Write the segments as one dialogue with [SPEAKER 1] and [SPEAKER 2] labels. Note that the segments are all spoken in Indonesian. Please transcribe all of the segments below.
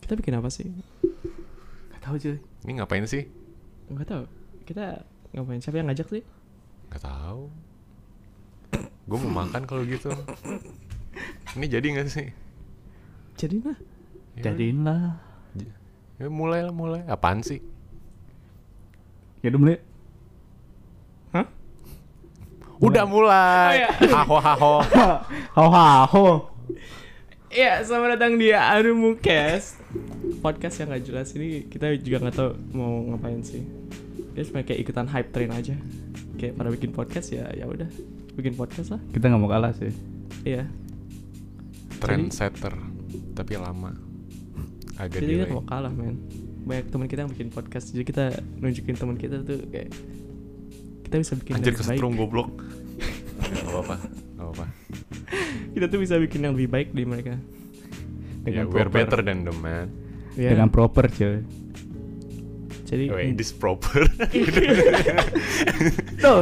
[SPEAKER 1] Kita bikin apa sih? Gak tahu cuy.
[SPEAKER 2] Ini ngapain sih?
[SPEAKER 1] Gak tahu. Kita ngapain? Siapa yang ngajak sih?
[SPEAKER 2] Gak tahu. Gue mau makan kalau gitu. Ini jadi nggak sih?
[SPEAKER 1] Jadi nah.
[SPEAKER 2] Ya,
[SPEAKER 3] Jadiin lah.
[SPEAKER 2] Ya, mulai lah mulai. Apaan sih?
[SPEAKER 3] Ya udah mulai.
[SPEAKER 1] Hah?
[SPEAKER 2] Udah
[SPEAKER 1] Oh,
[SPEAKER 2] mulai. Haho haho.
[SPEAKER 3] Hau hau.
[SPEAKER 1] Iya, selamat datang di Arumukes Podcast yang gak jelas ini kita juga gak tahu mau ngapain sih. Kita cuma kayak ikutan hype train aja. Kayak pada bikin podcast ya, ya udah bikin podcast lah.
[SPEAKER 3] Kita nggak mau kalah sih.
[SPEAKER 1] Iya.
[SPEAKER 2] Trendsetter. Tapi lama. Agak
[SPEAKER 1] Jadi kita
[SPEAKER 2] delay.
[SPEAKER 1] gak mau kalah men. Banyak teman kita yang bikin podcast, jadi kita nunjukin teman kita tuh kayak kita bisa bikin yang
[SPEAKER 2] Anjir
[SPEAKER 1] lebih
[SPEAKER 2] kesetrum
[SPEAKER 1] baik. ya?
[SPEAKER 2] goblok. Gak apa-apa. Gak apa-apa.
[SPEAKER 1] Kita tuh bisa bikin yang lebih baik di mereka.
[SPEAKER 2] Ya,
[SPEAKER 3] Dengan
[SPEAKER 2] we're
[SPEAKER 3] proper.
[SPEAKER 2] better than the man.
[SPEAKER 1] Iya.
[SPEAKER 3] Dengan proper cuy.
[SPEAKER 1] Jadi
[SPEAKER 2] Wait, this proper.
[SPEAKER 3] Tuh,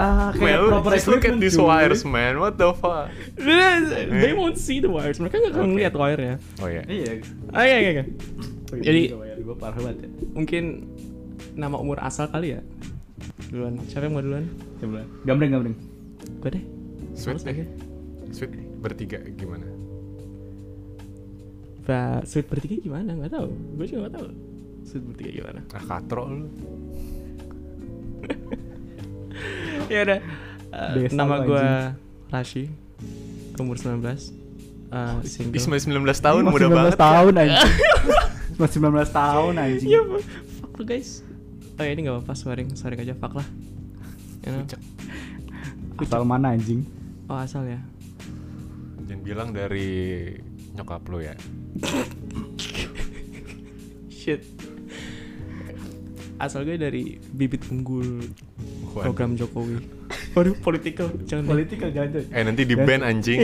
[SPEAKER 3] ah,
[SPEAKER 2] well, just look at these wires, man. What the fuck?
[SPEAKER 1] they won't see the wires. Mereka gak akan
[SPEAKER 2] Oke.
[SPEAKER 1] ngeliat wire-nya.
[SPEAKER 2] Oh ya.
[SPEAKER 3] Iya.
[SPEAKER 1] Oke, oke, oke. Jadi
[SPEAKER 3] gue parah banget ya.
[SPEAKER 1] mungkin nama umur asal kali ya duluan siapa yang mau duluan
[SPEAKER 3] Coba. Gambreng gambreng.
[SPEAKER 1] gue deh
[SPEAKER 2] Sweet
[SPEAKER 1] Harus lagi.
[SPEAKER 2] deh. Sweet bertiga gimana?
[SPEAKER 1] Ba sweet bertiga gimana nggak tahu gue juga nggak tahu sweet bertiga gimana
[SPEAKER 2] Ah, katro lu.
[SPEAKER 1] ya udah Eh,
[SPEAKER 3] Desa
[SPEAKER 1] nama
[SPEAKER 3] lu,
[SPEAKER 1] gue Rashi umur 19 Eh,
[SPEAKER 2] Ih,
[SPEAKER 1] single
[SPEAKER 2] masih 19 tahun,
[SPEAKER 1] Iya,
[SPEAKER 3] Masih
[SPEAKER 2] muda
[SPEAKER 3] 19
[SPEAKER 2] banget. ya.
[SPEAKER 3] tahun anjing. Masih 19 tahun anjing.
[SPEAKER 1] ya fuck lu guys oh ya ini nggak apa-apa swearing swearing aja fuck lah you know?
[SPEAKER 2] Cek.
[SPEAKER 3] Asal mana anjing?
[SPEAKER 1] oh asal ya
[SPEAKER 2] Jangan bilang dari nyokap lu ya.
[SPEAKER 1] shit asal gue dari bibit unggul
[SPEAKER 2] Waduh.
[SPEAKER 1] program Jokowi waduh political jangan deh.
[SPEAKER 3] Political jangan
[SPEAKER 2] Eh nanti di band anjing.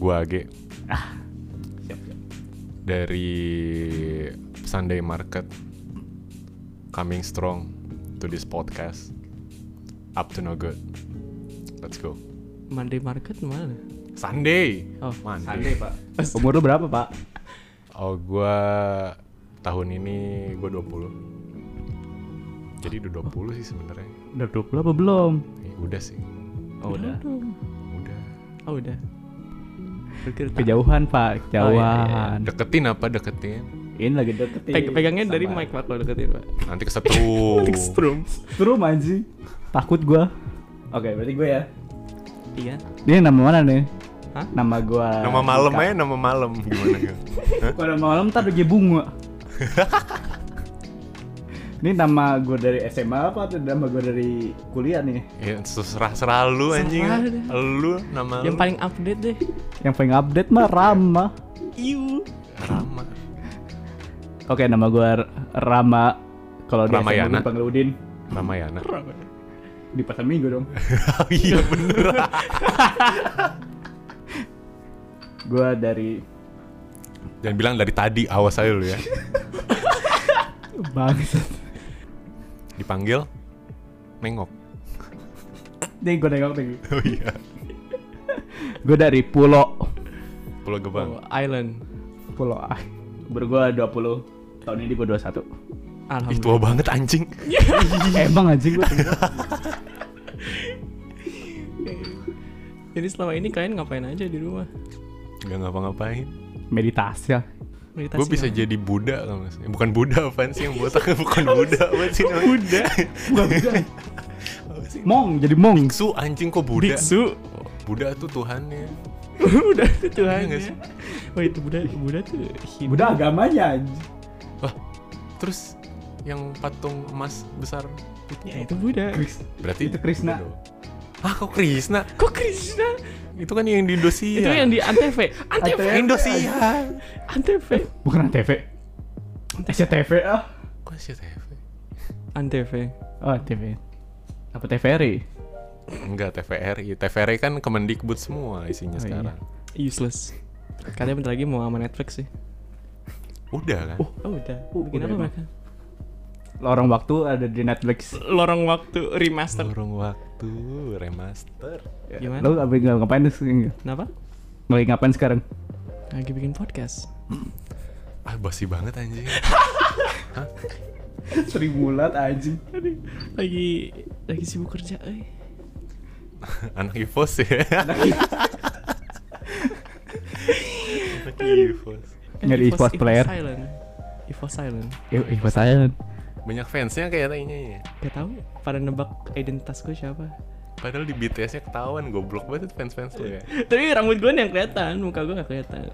[SPEAKER 2] gua Age dari Sunday Market coming strong to this podcast up to no good. Let's go.
[SPEAKER 1] Monday market mana
[SPEAKER 2] Sunday.
[SPEAKER 1] Oh,
[SPEAKER 2] Monday.
[SPEAKER 3] pak. Umur lu berapa pak?
[SPEAKER 2] Oh, gua tahun ini gua 20. Jadi udah 20 sih sebenarnya.
[SPEAKER 3] Udah 20 apa belum?
[SPEAKER 2] Eh, udah sih.
[SPEAKER 3] Oh udah.
[SPEAKER 2] Udah.
[SPEAKER 1] Oh udah. Berkira tak-
[SPEAKER 3] Kejauhan pak,
[SPEAKER 1] Oh, iya,
[SPEAKER 3] kejauhan.
[SPEAKER 1] iya,
[SPEAKER 2] Deketin apa deketin?
[SPEAKER 3] Ini lagi deket
[SPEAKER 1] Peg-
[SPEAKER 2] Iya,
[SPEAKER 1] pegangnya dari mic pak kalau deketin pak.
[SPEAKER 2] Nanti kesetrum.
[SPEAKER 1] Strum.
[SPEAKER 3] Serum anjing. Takut gua. Oke, berarti gue ya.
[SPEAKER 1] Iya.
[SPEAKER 3] Ini nama mana nih?
[SPEAKER 1] Hah?
[SPEAKER 3] Nama gua
[SPEAKER 2] Nama malam
[SPEAKER 3] Dika.
[SPEAKER 2] aja nama malam gimana ya?
[SPEAKER 3] Kalau nama malam ntar lagi bunga. Ini nama gue dari SMA apa atau nama gue dari kuliah nih?
[SPEAKER 2] Ya serah serah lu anjing.
[SPEAKER 1] Serah
[SPEAKER 2] Lu nama
[SPEAKER 1] Yang
[SPEAKER 2] lu.
[SPEAKER 1] paling update deh.
[SPEAKER 3] Yang paling update mah Rama.
[SPEAKER 1] Iu.
[SPEAKER 2] Rama.
[SPEAKER 3] Oke, nama gue Rama. Kalau di SMA
[SPEAKER 2] Ramayana.
[SPEAKER 3] gue dipanggil Udin.
[SPEAKER 2] Ramayana.
[SPEAKER 3] Di pasar minggu dong.
[SPEAKER 2] Oh, iya bener.
[SPEAKER 3] gue dari
[SPEAKER 2] Jangan bilang dari tadi awas aja lu ya.
[SPEAKER 3] bangsat.
[SPEAKER 2] Dipanggil nengok.
[SPEAKER 3] Nih gue nengok lagi.
[SPEAKER 2] Oh iya.
[SPEAKER 3] Gue dari Pulau.
[SPEAKER 2] Pulau Gebang.
[SPEAKER 1] Oh, Island.
[SPEAKER 3] Pulau A. Bergua 20. Tahun ini gue 21.
[SPEAKER 2] Ih
[SPEAKER 1] Alhamdulillah.
[SPEAKER 2] tua banget anjing.
[SPEAKER 3] Emang Eh, anjing gue.
[SPEAKER 1] Jadi selama ini kalian ngapain aja di rumah?
[SPEAKER 2] Gak ngapa-ngapain.
[SPEAKER 3] Meditasi ya.
[SPEAKER 1] Meditasi.
[SPEAKER 2] Gue bisa
[SPEAKER 1] nggak?
[SPEAKER 2] jadi Buddha kalau nggak salah. Bukan Buddha apaan sih yang botak? Bukan Buddha apaan sih namanya? Buddha.
[SPEAKER 3] Mong, jadi mong.
[SPEAKER 2] Biksu anjing kok Buddha?
[SPEAKER 1] biksu.
[SPEAKER 2] Buddha tuh Tuhannya.
[SPEAKER 1] udah itu Tuhan
[SPEAKER 2] Iya nggak
[SPEAKER 1] ya.
[SPEAKER 2] sih?
[SPEAKER 1] Wah itu Buddha Buddha tuh. Hindu.
[SPEAKER 3] Udah agamanya anjing.
[SPEAKER 2] Wah, terus yang patung emas besar
[SPEAKER 1] Ya
[SPEAKER 2] Iya,
[SPEAKER 1] itu Buddha.
[SPEAKER 2] berarti
[SPEAKER 3] Itu Krishna.
[SPEAKER 2] Buddha dong. Ah, kok Krishna?
[SPEAKER 1] Kok Krishna?
[SPEAKER 2] Itu kan yang di Indonesia.
[SPEAKER 1] Itu yang di Antv. Antv.
[SPEAKER 3] Iya. Antv.
[SPEAKER 2] Indonesia.
[SPEAKER 1] Antv.
[SPEAKER 3] Bukan ATV. SCTV ah.
[SPEAKER 2] Kok sih TV?
[SPEAKER 1] Antv.
[SPEAKER 3] Oh, TV. Apa TVRI?
[SPEAKER 2] Enggak TVRI. TVRI kan Kemendikbud semua isinya
[SPEAKER 3] Oh, iya.
[SPEAKER 2] sekarang.
[SPEAKER 1] Useless. Katanya bentar lagi mau sama Netflix sih.
[SPEAKER 2] Udah kan?
[SPEAKER 1] Oh udah.
[SPEAKER 3] Oh,
[SPEAKER 1] Bikin
[SPEAKER 3] udah
[SPEAKER 1] apa
[SPEAKER 3] emang.
[SPEAKER 1] mereka?
[SPEAKER 3] Lorong waktu ada di Netflix.
[SPEAKER 1] Lorong waktu remaster.
[SPEAKER 2] Burung waktu remaster.
[SPEAKER 1] Gimana?
[SPEAKER 3] Lo abis ngapain tuh?
[SPEAKER 1] Kenapa?
[SPEAKER 3] Lagi ngapain sekarang?
[SPEAKER 1] lagi bikin podcast
[SPEAKER 2] Ah basi banget anjing.
[SPEAKER 3] Sri Mulat anjing.
[SPEAKER 1] lagi lagi sibuk kerja eh
[SPEAKER 2] Anak IFOS ya. Anak IFOS.
[SPEAKER 1] Kan
[SPEAKER 3] Nyari e-sport player.
[SPEAKER 1] silent Evo silent
[SPEAKER 3] Yo, ih Iya, saya
[SPEAKER 2] Banyak fansnya kayaknya ya.
[SPEAKER 1] gak tau pada nebak identitas gue siapa
[SPEAKER 2] Padahal di BTS-nya ketahuan goblok banget fans-fans lu ya.
[SPEAKER 1] tapi rambut gue nih yang kelihatan muka gue gak kelihatan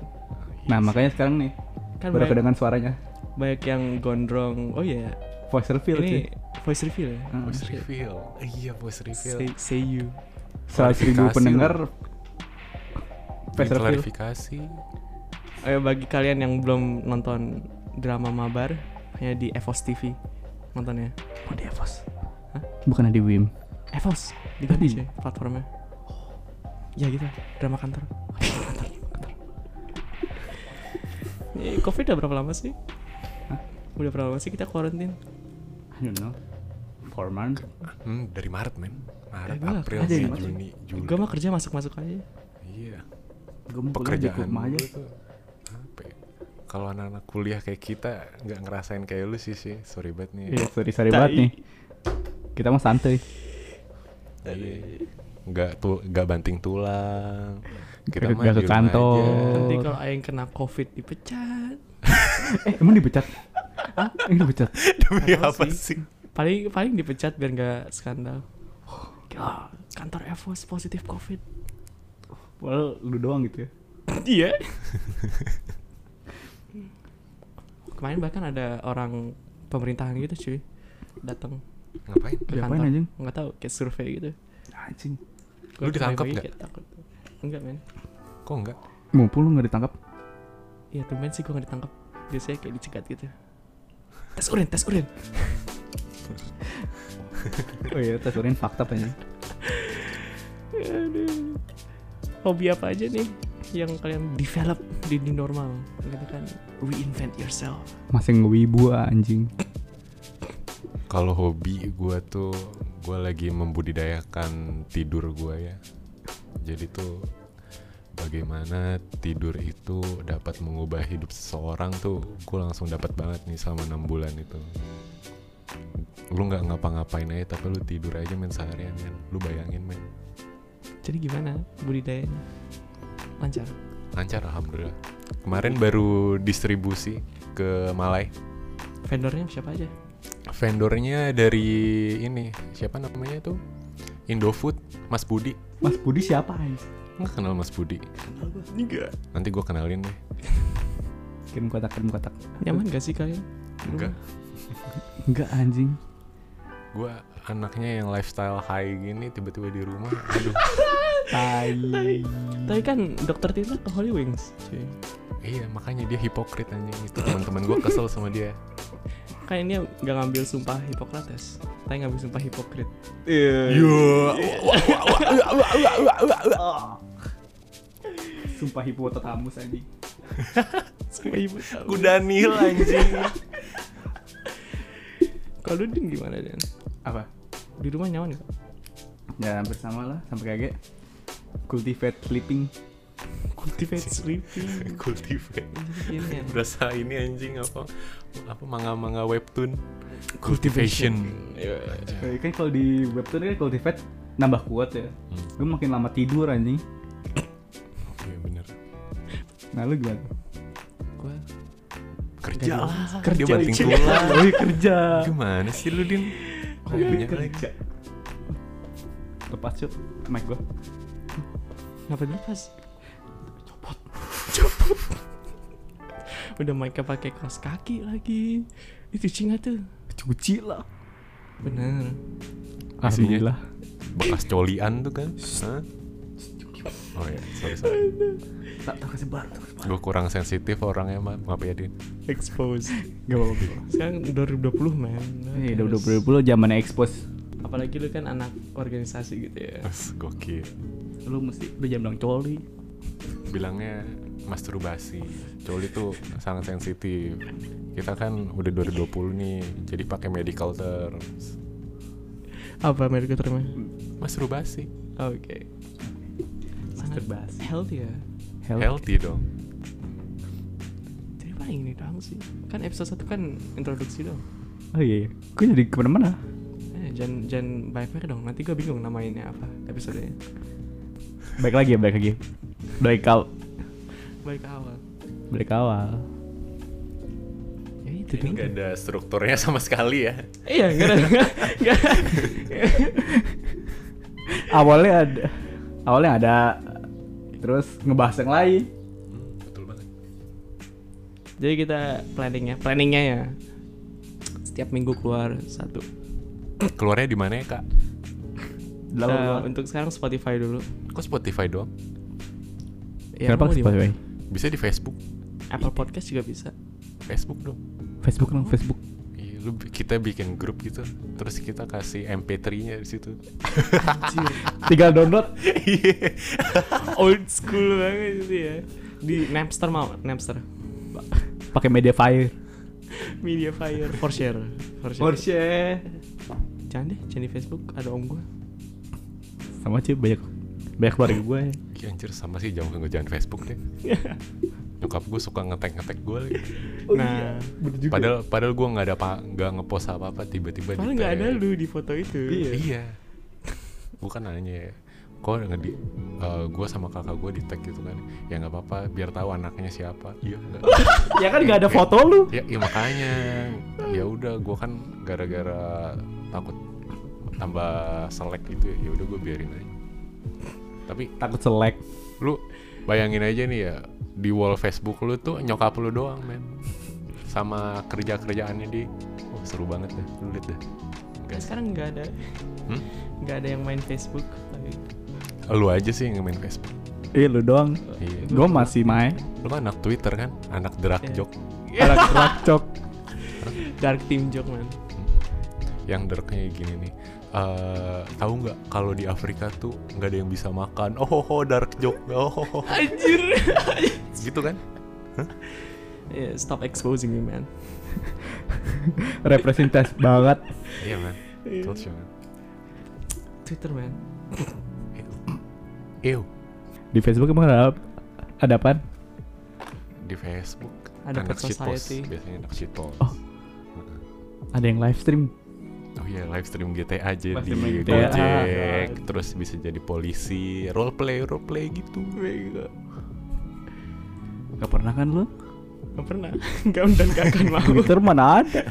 [SPEAKER 3] Nah, makanya sekarang nih
[SPEAKER 1] kan
[SPEAKER 3] baru
[SPEAKER 1] banyak,
[SPEAKER 3] kedengaran suaranya.
[SPEAKER 1] banyak yang gondrong oh iya
[SPEAKER 3] Voice reveal
[SPEAKER 1] ini
[SPEAKER 3] sih.
[SPEAKER 1] voice reveal ya
[SPEAKER 3] Hmm.
[SPEAKER 2] Voice reveal. Eh, Iya, voice reveal.
[SPEAKER 1] say, say you
[SPEAKER 3] Seratus ribu
[SPEAKER 2] klarifikasi
[SPEAKER 3] pendengar
[SPEAKER 2] Ini
[SPEAKER 3] face reveal.
[SPEAKER 2] klarifikasi.
[SPEAKER 1] Ayo Eh, bagi kalian yang belum nonton drama Mabar hanya di EVOS TV nontonnya.
[SPEAKER 3] Oh, di Evos. Oh, Bukan di Wim.
[SPEAKER 1] EVOS diganti sih platformnya. Ya gitu, drama kantor. kantor. kantor. Ini Covid udah berapa lama sih?
[SPEAKER 3] Hah?
[SPEAKER 1] Udah berapa lama sih kita karantin?
[SPEAKER 3] I don't know. Four months.
[SPEAKER 2] Hmm, dari Maret, men. Maret,
[SPEAKER 1] Eh, gua nggak
[SPEAKER 2] April,
[SPEAKER 1] kerja
[SPEAKER 2] Mei,
[SPEAKER 1] di Maret.
[SPEAKER 2] Juni, Juli.
[SPEAKER 1] Gue mah kerja masuk-masuk aja.
[SPEAKER 2] Iya.
[SPEAKER 3] Gue mau
[SPEAKER 2] Pekerjaan
[SPEAKER 3] rumah aja.
[SPEAKER 2] lu tuh apa ya? Kalau anak-anak kuliah kayak kita nggak ngerasain kayak lu sih sih. Sorry banget nih.
[SPEAKER 3] Iya, sorry sorry
[SPEAKER 1] Tai.
[SPEAKER 3] banget nih. Kita mah santai.
[SPEAKER 2] Iya. Nggak tuh nggak banting tulang. Kita
[SPEAKER 3] Nggak-
[SPEAKER 2] mah
[SPEAKER 3] nggak
[SPEAKER 2] di
[SPEAKER 3] ke
[SPEAKER 2] rumah
[SPEAKER 3] kantor.
[SPEAKER 2] aja.
[SPEAKER 1] Nanti
[SPEAKER 3] Oh.
[SPEAKER 1] kalau Aing kena Covid dipecat.
[SPEAKER 3] Eh, emang dipecat? Hah? Ini dipecat.
[SPEAKER 2] Demi
[SPEAKER 1] Nggak tahu
[SPEAKER 2] apa
[SPEAKER 1] sih.
[SPEAKER 2] sih?
[SPEAKER 1] Paling paling dipecat biar nggak skandal.
[SPEAKER 3] Oh,
[SPEAKER 1] Gila, kantor EVOS positif Covid.
[SPEAKER 3] Well, lu doang gitu ya.
[SPEAKER 1] Iya. Kemarin bahkan ada orang pemerintahan gitu cuy datang
[SPEAKER 2] Ngapain?
[SPEAKER 1] ke
[SPEAKER 3] Diapain
[SPEAKER 1] kantor.
[SPEAKER 3] anjing?
[SPEAKER 1] Nggak tahu kayak survei gitu.
[SPEAKER 3] Anjing.
[SPEAKER 2] Lu ditangkap nggak?
[SPEAKER 1] kayak takut. Enggak men.
[SPEAKER 2] Kok nggak?
[SPEAKER 3] Mumpul lu nggak ditangkap.
[SPEAKER 1] Iya tumben sih gua nggak ditangkap. Biasanya kayak dicegat gitu. Tes urin, tes urin.
[SPEAKER 3] Oh iya, tes urin fakta anjing.
[SPEAKER 1] Aduh. Hobi apa aja nih yang kalian develop di new normal? Gitu kan reinvent yourself.
[SPEAKER 3] Masih ngewibu anjing.
[SPEAKER 2] Kalau hobi gua tuh gua lagi membudidayakan tidur gua ya. Jadi tuh bagaimana tidur itu dapat mengubah hidup seseorang tuh gua langsung dapat banget nih selama enam bulan itu. Lu nggak ngapa-ngapain aja tapi lu tidur aja men seharian men. Lu bayangin men.
[SPEAKER 1] Jadi gimana budidayanya? Lancar.
[SPEAKER 2] Lancar alhamdulillah. Kemarin baru distribusi ke Malai.
[SPEAKER 1] Vendornya siapa aja?
[SPEAKER 2] Vendornya dari ini siapa namanya tuh? Indofood, Mas Budi.
[SPEAKER 3] Mas Budi siapa anjing?
[SPEAKER 2] Nggak kenal Mas Budi.
[SPEAKER 1] Enggak.
[SPEAKER 2] Nanti gua kenalin deh.
[SPEAKER 3] Kirim kotak, kirim kotak.
[SPEAKER 1] Nyaman gak sih kalian? Hmm.
[SPEAKER 2] Enggak.
[SPEAKER 3] Enggak anjing.
[SPEAKER 2] Gue anaknya yang lifestyle high gini tiba-tiba di rumah. Aduh.
[SPEAKER 3] Tai.
[SPEAKER 1] Tapi kan dokter Tina ke Holy Wings, cuy.
[SPEAKER 2] iya makanya dia hipokrit anjing itu. Teman-teman gue kesel sama dia.
[SPEAKER 1] Kan ini gak ngambil sumpah Hipokrates. Tapi ngambil sumpah hipokrit. Iya.
[SPEAKER 2] Yo.
[SPEAKER 3] Sumpah hipopotamus anjing.
[SPEAKER 1] Sumpah ibu.
[SPEAKER 2] Gue Daniel anjing.
[SPEAKER 1] Kalau lu Din, gimana Dan?
[SPEAKER 3] Apa?
[SPEAKER 1] Di rumah nyaman gak?
[SPEAKER 3] Ya hampir sama lah sampai kaget. Cultivate sleeping.
[SPEAKER 1] Cultivate sleeping.
[SPEAKER 2] Cultivate.
[SPEAKER 1] Ini ya.
[SPEAKER 2] Berasa ini anjing apa? Apa manga-manga webtoon? Iya. Cultivation.
[SPEAKER 3] Eh,
[SPEAKER 2] Anjing.
[SPEAKER 3] Kan kalau di webtoon kan cultivate nambah kuat ya.
[SPEAKER 2] Hmm.
[SPEAKER 3] Lu makin lama tidur anjing.
[SPEAKER 2] Iya bener.
[SPEAKER 3] Nah lu gimana?
[SPEAKER 1] Gua
[SPEAKER 2] Kerja
[SPEAKER 1] Dari-
[SPEAKER 2] lah.
[SPEAKER 1] kerja,
[SPEAKER 2] Dia banting
[SPEAKER 1] cuy.
[SPEAKER 2] tulang.
[SPEAKER 3] Oh iya kerja.
[SPEAKER 2] Gimana sih lu Din? Oh, banyak lagi.
[SPEAKER 3] Lepas yuk mic gua.
[SPEAKER 1] Kenapa dilepas? Copot. Copot. Udah mereka pakai kaos kaki lagi. Itu cinga tuh.
[SPEAKER 3] Cuci lah.
[SPEAKER 1] Bener.
[SPEAKER 2] Isinya
[SPEAKER 3] Alhamdulillah.
[SPEAKER 2] bekas colian tuh kan? Hah? Oh iya, sorry sorry.
[SPEAKER 3] Tak tak kesebar. tak kesebar.
[SPEAKER 2] Gue kurang sensitif orangnya mah, maaf ya Din.
[SPEAKER 1] Expose.
[SPEAKER 3] Gak apa-apa.
[SPEAKER 1] Sekarang 2020 men.
[SPEAKER 3] Eh,
[SPEAKER 1] Harus-
[SPEAKER 3] Iya, udah udah puluh zamannya expose.
[SPEAKER 1] Apalagi lu kan anak organisasi gitu ya.
[SPEAKER 2] Us, Gokil.
[SPEAKER 3] Lu mesti udah jam bilang coli.
[SPEAKER 2] Bilangnya masturbasi. Coli tuh sangat sensitif. Kita kan udah 2020 nih, jadi pakai medical terms.
[SPEAKER 1] Apa medical termnya?
[SPEAKER 2] Masturbasi.
[SPEAKER 1] Oke. Sangat
[SPEAKER 3] Masturbasi.
[SPEAKER 1] healthy ya.
[SPEAKER 2] Healthy dong.
[SPEAKER 1] Paling ini doang sih. Kan episode 1 kan introduksi dong.
[SPEAKER 3] Oh iya, iya. Gue jadi kemana-mana.
[SPEAKER 1] Eh, jangan jangan byver dong. Nanti gue bingung namainnya apa episodenya.
[SPEAKER 3] Baik lagi ya, baik lagi. Balik ke awal.
[SPEAKER 1] Balik ke awal.
[SPEAKER 3] Balik ke awal.
[SPEAKER 1] Ya itu
[SPEAKER 2] Ini
[SPEAKER 1] dong.
[SPEAKER 2] nggak ada strukturnya sama sekali ya.
[SPEAKER 1] Iya, enggak ada. Enggak.
[SPEAKER 3] Awalnya ada, awalnya ada, terus ngebahas yang lain.
[SPEAKER 2] Hmm, betul banget.
[SPEAKER 1] Jadi kita planningnya, planningnya ya setiap minggu keluar satu.
[SPEAKER 2] Keluarnya di mana ya kak?
[SPEAKER 3] Lalu
[SPEAKER 1] Nah,
[SPEAKER 3] lalu-
[SPEAKER 1] untuk sekarang Spotify dulu.
[SPEAKER 2] Kok Spotify doang?
[SPEAKER 1] Ya,
[SPEAKER 3] Kenapa
[SPEAKER 1] mau di
[SPEAKER 3] Spotify?
[SPEAKER 2] Bisa di Facebook?
[SPEAKER 1] mana? Apple Podcast juga bisa.
[SPEAKER 2] Facebook dong.
[SPEAKER 3] Facebook dong, Facebook.
[SPEAKER 2] Iya, lu bi- kita bikin grup gitu, terus kita kasih MP3-nya di situ.
[SPEAKER 3] Tinggal download.
[SPEAKER 1] Old school banget gitu ya. Di Napster mau, Napster.
[SPEAKER 3] pakai media fire.
[SPEAKER 1] Media Fire for share. For share.
[SPEAKER 3] Porsche.
[SPEAKER 1] Jangan deh, jangan di Facebook ada om gue.
[SPEAKER 3] Sama sih banyak banyak keluarga ya. gue.
[SPEAKER 2] Iya anjir sama sih jangan jangan Facebook deh. Nyokap gue suka ngetek-ngetek gue lagi.
[SPEAKER 3] Oh
[SPEAKER 1] nah,
[SPEAKER 3] iya.
[SPEAKER 2] Padahal padahal gue nggak ada apa nggak ngepost apa-apa tiba-tiba
[SPEAKER 1] padahal
[SPEAKER 2] di
[SPEAKER 1] nggak ada
[SPEAKER 2] tag.
[SPEAKER 1] lu di foto itu.
[SPEAKER 2] Iya. Gue kan nanya ya. Kok nggak di gue sama kakak gue di tag gitu kan. Ya nggak apa-apa biar tahu anaknya siapa. Iya nggak.
[SPEAKER 3] ya kan nggak ada foto lu.
[SPEAKER 2] ya, ya makanya. Ya udah gue kan gara-gara takut tambah selek gitu ya udah gue biarin aja. Tapi
[SPEAKER 3] Takut selek.
[SPEAKER 2] lu bayangin aja nih ya di wall Facebook lu tuh nyokap lu doang men sama kerja kerjaannya di oh, seru banget deh lu liat deh
[SPEAKER 1] Nah,
[SPEAKER 2] Enggak sih.
[SPEAKER 1] sekarang nggak ada,
[SPEAKER 2] Hmm?
[SPEAKER 1] nggak ada yang main Facebook.
[SPEAKER 2] lu aja sih yang main Facebook
[SPEAKER 3] Iya lu doang.
[SPEAKER 2] iya
[SPEAKER 3] Gue masih main.
[SPEAKER 2] lu kan anak Twitter kan anak drag
[SPEAKER 1] Iya.
[SPEAKER 2] jok
[SPEAKER 3] Anak rakcok.
[SPEAKER 1] Dark team joke man.
[SPEAKER 2] yang darknya gini nih Eh, tahu nggak kalau di Afrika tuh nggak ada yang bisa makan oh, oh, oh, dark joke oh, oh, oh.
[SPEAKER 1] Anjir.
[SPEAKER 2] gitu kan
[SPEAKER 1] yeah, stop exposing me man.
[SPEAKER 3] Representasi banget.
[SPEAKER 2] iya men terus cuman
[SPEAKER 1] Twitter man.
[SPEAKER 2] ew
[SPEAKER 3] Di Facebook emang ada, ada apa?
[SPEAKER 2] di Facebook
[SPEAKER 1] Ada
[SPEAKER 2] anak
[SPEAKER 1] Pet
[SPEAKER 2] shitpost
[SPEAKER 1] Society.
[SPEAKER 2] biasanya anak shitpost
[SPEAKER 3] Oh. Ada yang live stream.
[SPEAKER 2] Oh iya, live stream GTA aja
[SPEAKER 3] Live
[SPEAKER 2] di
[SPEAKER 3] stream GTA.
[SPEAKER 2] Gojek, terus bisa jadi polisi, role play, role play gitu.
[SPEAKER 1] Bego.
[SPEAKER 3] Gak pernah kan lu?
[SPEAKER 1] Gak pernah. Gak dan gak akan mau.
[SPEAKER 3] Twitter mana ada?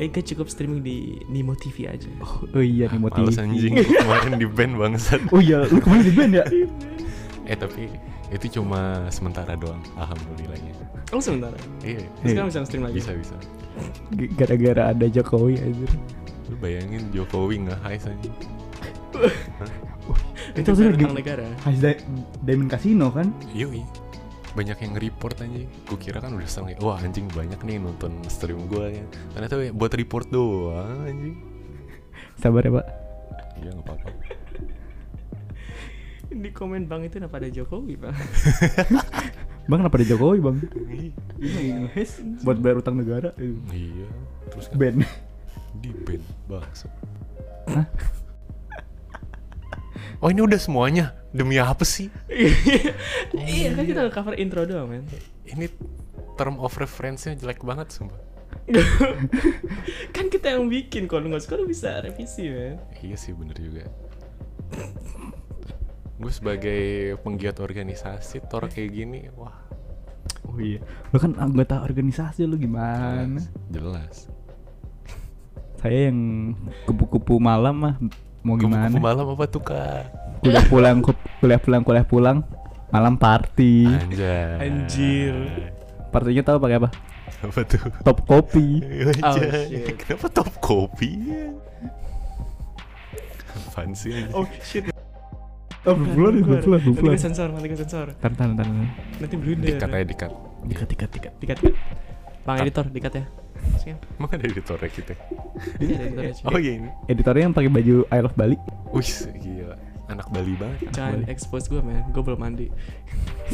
[SPEAKER 1] eh, kan cukup streaming di Nimo TV aja.
[SPEAKER 3] Oh iya nih motif.
[SPEAKER 2] Males anjing gua kemarin di band bangsat.
[SPEAKER 3] Oh iya, lu kemarin di band ya?
[SPEAKER 2] Eh tapi itu cuma sementara doang, alhamdulillahnya.
[SPEAKER 1] Oh sebentar.
[SPEAKER 2] Iya,
[SPEAKER 1] Sekarang bisa stream lagi.
[SPEAKER 2] bisa bisa.
[SPEAKER 3] G- Gara-gara ada Jokowi anjir.
[SPEAKER 2] Lu bayangin Jokowi nggak hai saja.
[SPEAKER 1] Itu
[SPEAKER 3] Itu sebenarnya
[SPEAKER 1] tentang
[SPEAKER 3] gini.
[SPEAKER 1] negara.
[SPEAKER 3] Has Di- Diamond Casino kan?
[SPEAKER 2] Yoi. Iya, Banyak yang report anjing. Gue kira kan udah seneng. Wah anjing banyak nih nonton stream gue ya. Ternyata buat report doang anjing.
[SPEAKER 3] Sabar ya, Pak.
[SPEAKER 2] Iya nggak apa-apa.
[SPEAKER 1] Di komen bang itu kenapa ada Jokowi pak?
[SPEAKER 3] Bang kenapa ada Jokowi, Bang?
[SPEAKER 2] Ih,
[SPEAKER 3] Buat bayar utang negara.
[SPEAKER 2] Iya. Terus kan
[SPEAKER 3] Band.
[SPEAKER 2] di band bakso. Oh ini udah semuanya demi apa sih?
[SPEAKER 1] iya kan kita cover intro doang men.
[SPEAKER 2] Ini term of reference-nya jelek banget sumpah.
[SPEAKER 1] kan kita yang bikin kalau lu nggak suka lu bisa revisi men.
[SPEAKER 2] Iya sih bener juga. Gue sebagai penggiat organisasi tor kayak gini, wah
[SPEAKER 3] Oh iya. Lu kan anggota organisasi lu gimana?
[SPEAKER 2] jelas.
[SPEAKER 3] Saya yang kupu-kupu malam mah mau gimana?
[SPEAKER 2] Kupu-kupu malam apa tuh kak?
[SPEAKER 3] Kuliah pulang, kup- kuliah pulang, kuliah pulang. Malam party.
[SPEAKER 2] Anjay.
[SPEAKER 1] Anjir.
[SPEAKER 3] Partinya tahu pakai apa?
[SPEAKER 2] Apa tuh?
[SPEAKER 3] Top kopi.
[SPEAKER 2] Anjay.
[SPEAKER 1] shit.
[SPEAKER 2] Kenapa top kopi? Apaan sih? anjing?
[SPEAKER 1] Oh shit.
[SPEAKER 3] Top bulan,
[SPEAKER 1] keluar.
[SPEAKER 3] bulan,
[SPEAKER 1] Nanti
[SPEAKER 3] bulan.
[SPEAKER 1] gue sensor, nanti gue sensor.
[SPEAKER 3] Tar tar tar.
[SPEAKER 1] Nanti blunder.
[SPEAKER 2] Dikat aja dikat.
[SPEAKER 3] Tiga tiga tiga.
[SPEAKER 1] Dikat, dikat. Bang
[SPEAKER 2] Ah.
[SPEAKER 1] editor, dikat ya. Siap.
[SPEAKER 2] Emang ada editornya kita?
[SPEAKER 1] Iya, ada editornya.
[SPEAKER 2] Oh iya ini.
[SPEAKER 3] Editornya yang pakai baju I Love Bali
[SPEAKER 2] Wih gila, anak Bali banget.
[SPEAKER 1] Jangan expose gue men, gue belum mandi.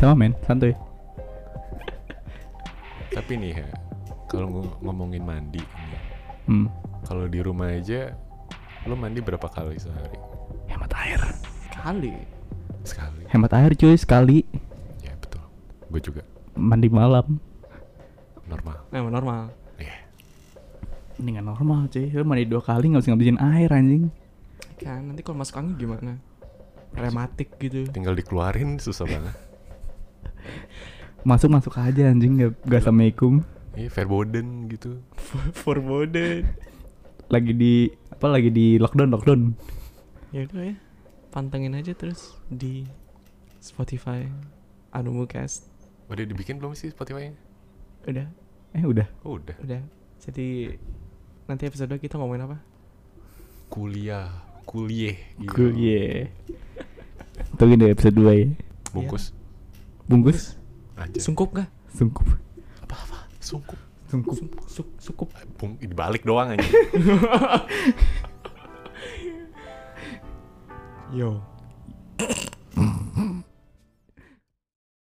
[SPEAKER 3] sama men, santuy.
[SPEAKER 2] Tapi nih ya, kalau ngo- ngomongin mandi, nih,
[SPEAKER 3] Hmm.
[SPEAKER 2] kalau di rumah aja, lo mandi berapa kali sehari?
[SPEAKER 3] Hemat air.
[SPEAKER 1] Kali.
[SPEAKER 2] Sekali.
[SPEAKER 3] Hemat air cuy sekali
[SPEAKER 2] Ya betul. Gue juga.
[SPEAKER 3] mandi malam.
[SPEAKER 2] normal.
[SPEAKER 1] Emang Nah, normal.
[SPEAKER 2] Iya.
[SPEAKER 3] Ini nggak normal cuy. Lu mandi dua kali nggak bisa ngabisin air anjing.
[SPEAKER 1] Kan nanti kalau masuk angin gimana? Rematik gitu.
[SPEAKER 2] Tinggal dikeluarin susah banget.
[SPEAKER 3] Masuk masuk aja anjing nggak nggak assalamualaikum.
[SPEAKER 2] Iya, verboten gitu.
[SPEAKER 1] Forbidden.
[SPEAKER 3] Lagi di apa lagi di lockdown lockdown.
[SPEAKER 1] ya udah ya. Pantengin aja terus di Spotify Anu Anumucast.
[SPEAKER 2] Udah dibikin belum sih Spotify-nya?
[SPEAKER 1] Udah,
[SPEAKER 3] Eh udah.
[SPEAKER 2] Oh, Udah.
[SPEAKER 1] udah. Jadi nanti episode kita ngomongin apa?
[SPEAKER 2] Kuliah, kuliah. Iya.
[SPEAKER 3] Cool yeah. Tungguin deh episode 2 ya.
[SPEAKER 2] Bungkus.
[SPEAKER 3] Bungkus.
[SPEAKER 2] Aja.
[SPEAKER 1] Sungkup gak?
[SPEAKER 3] Sungkup.
[SPEAKER 2] Apa-apa? Sungkup.
[SPEAKER 3] Sungkup.
[SPEAKER 1] Su- sukup.
[SPEAKER 2] Bung, dibalik doang aja.
[SPEAKER 1] Yo.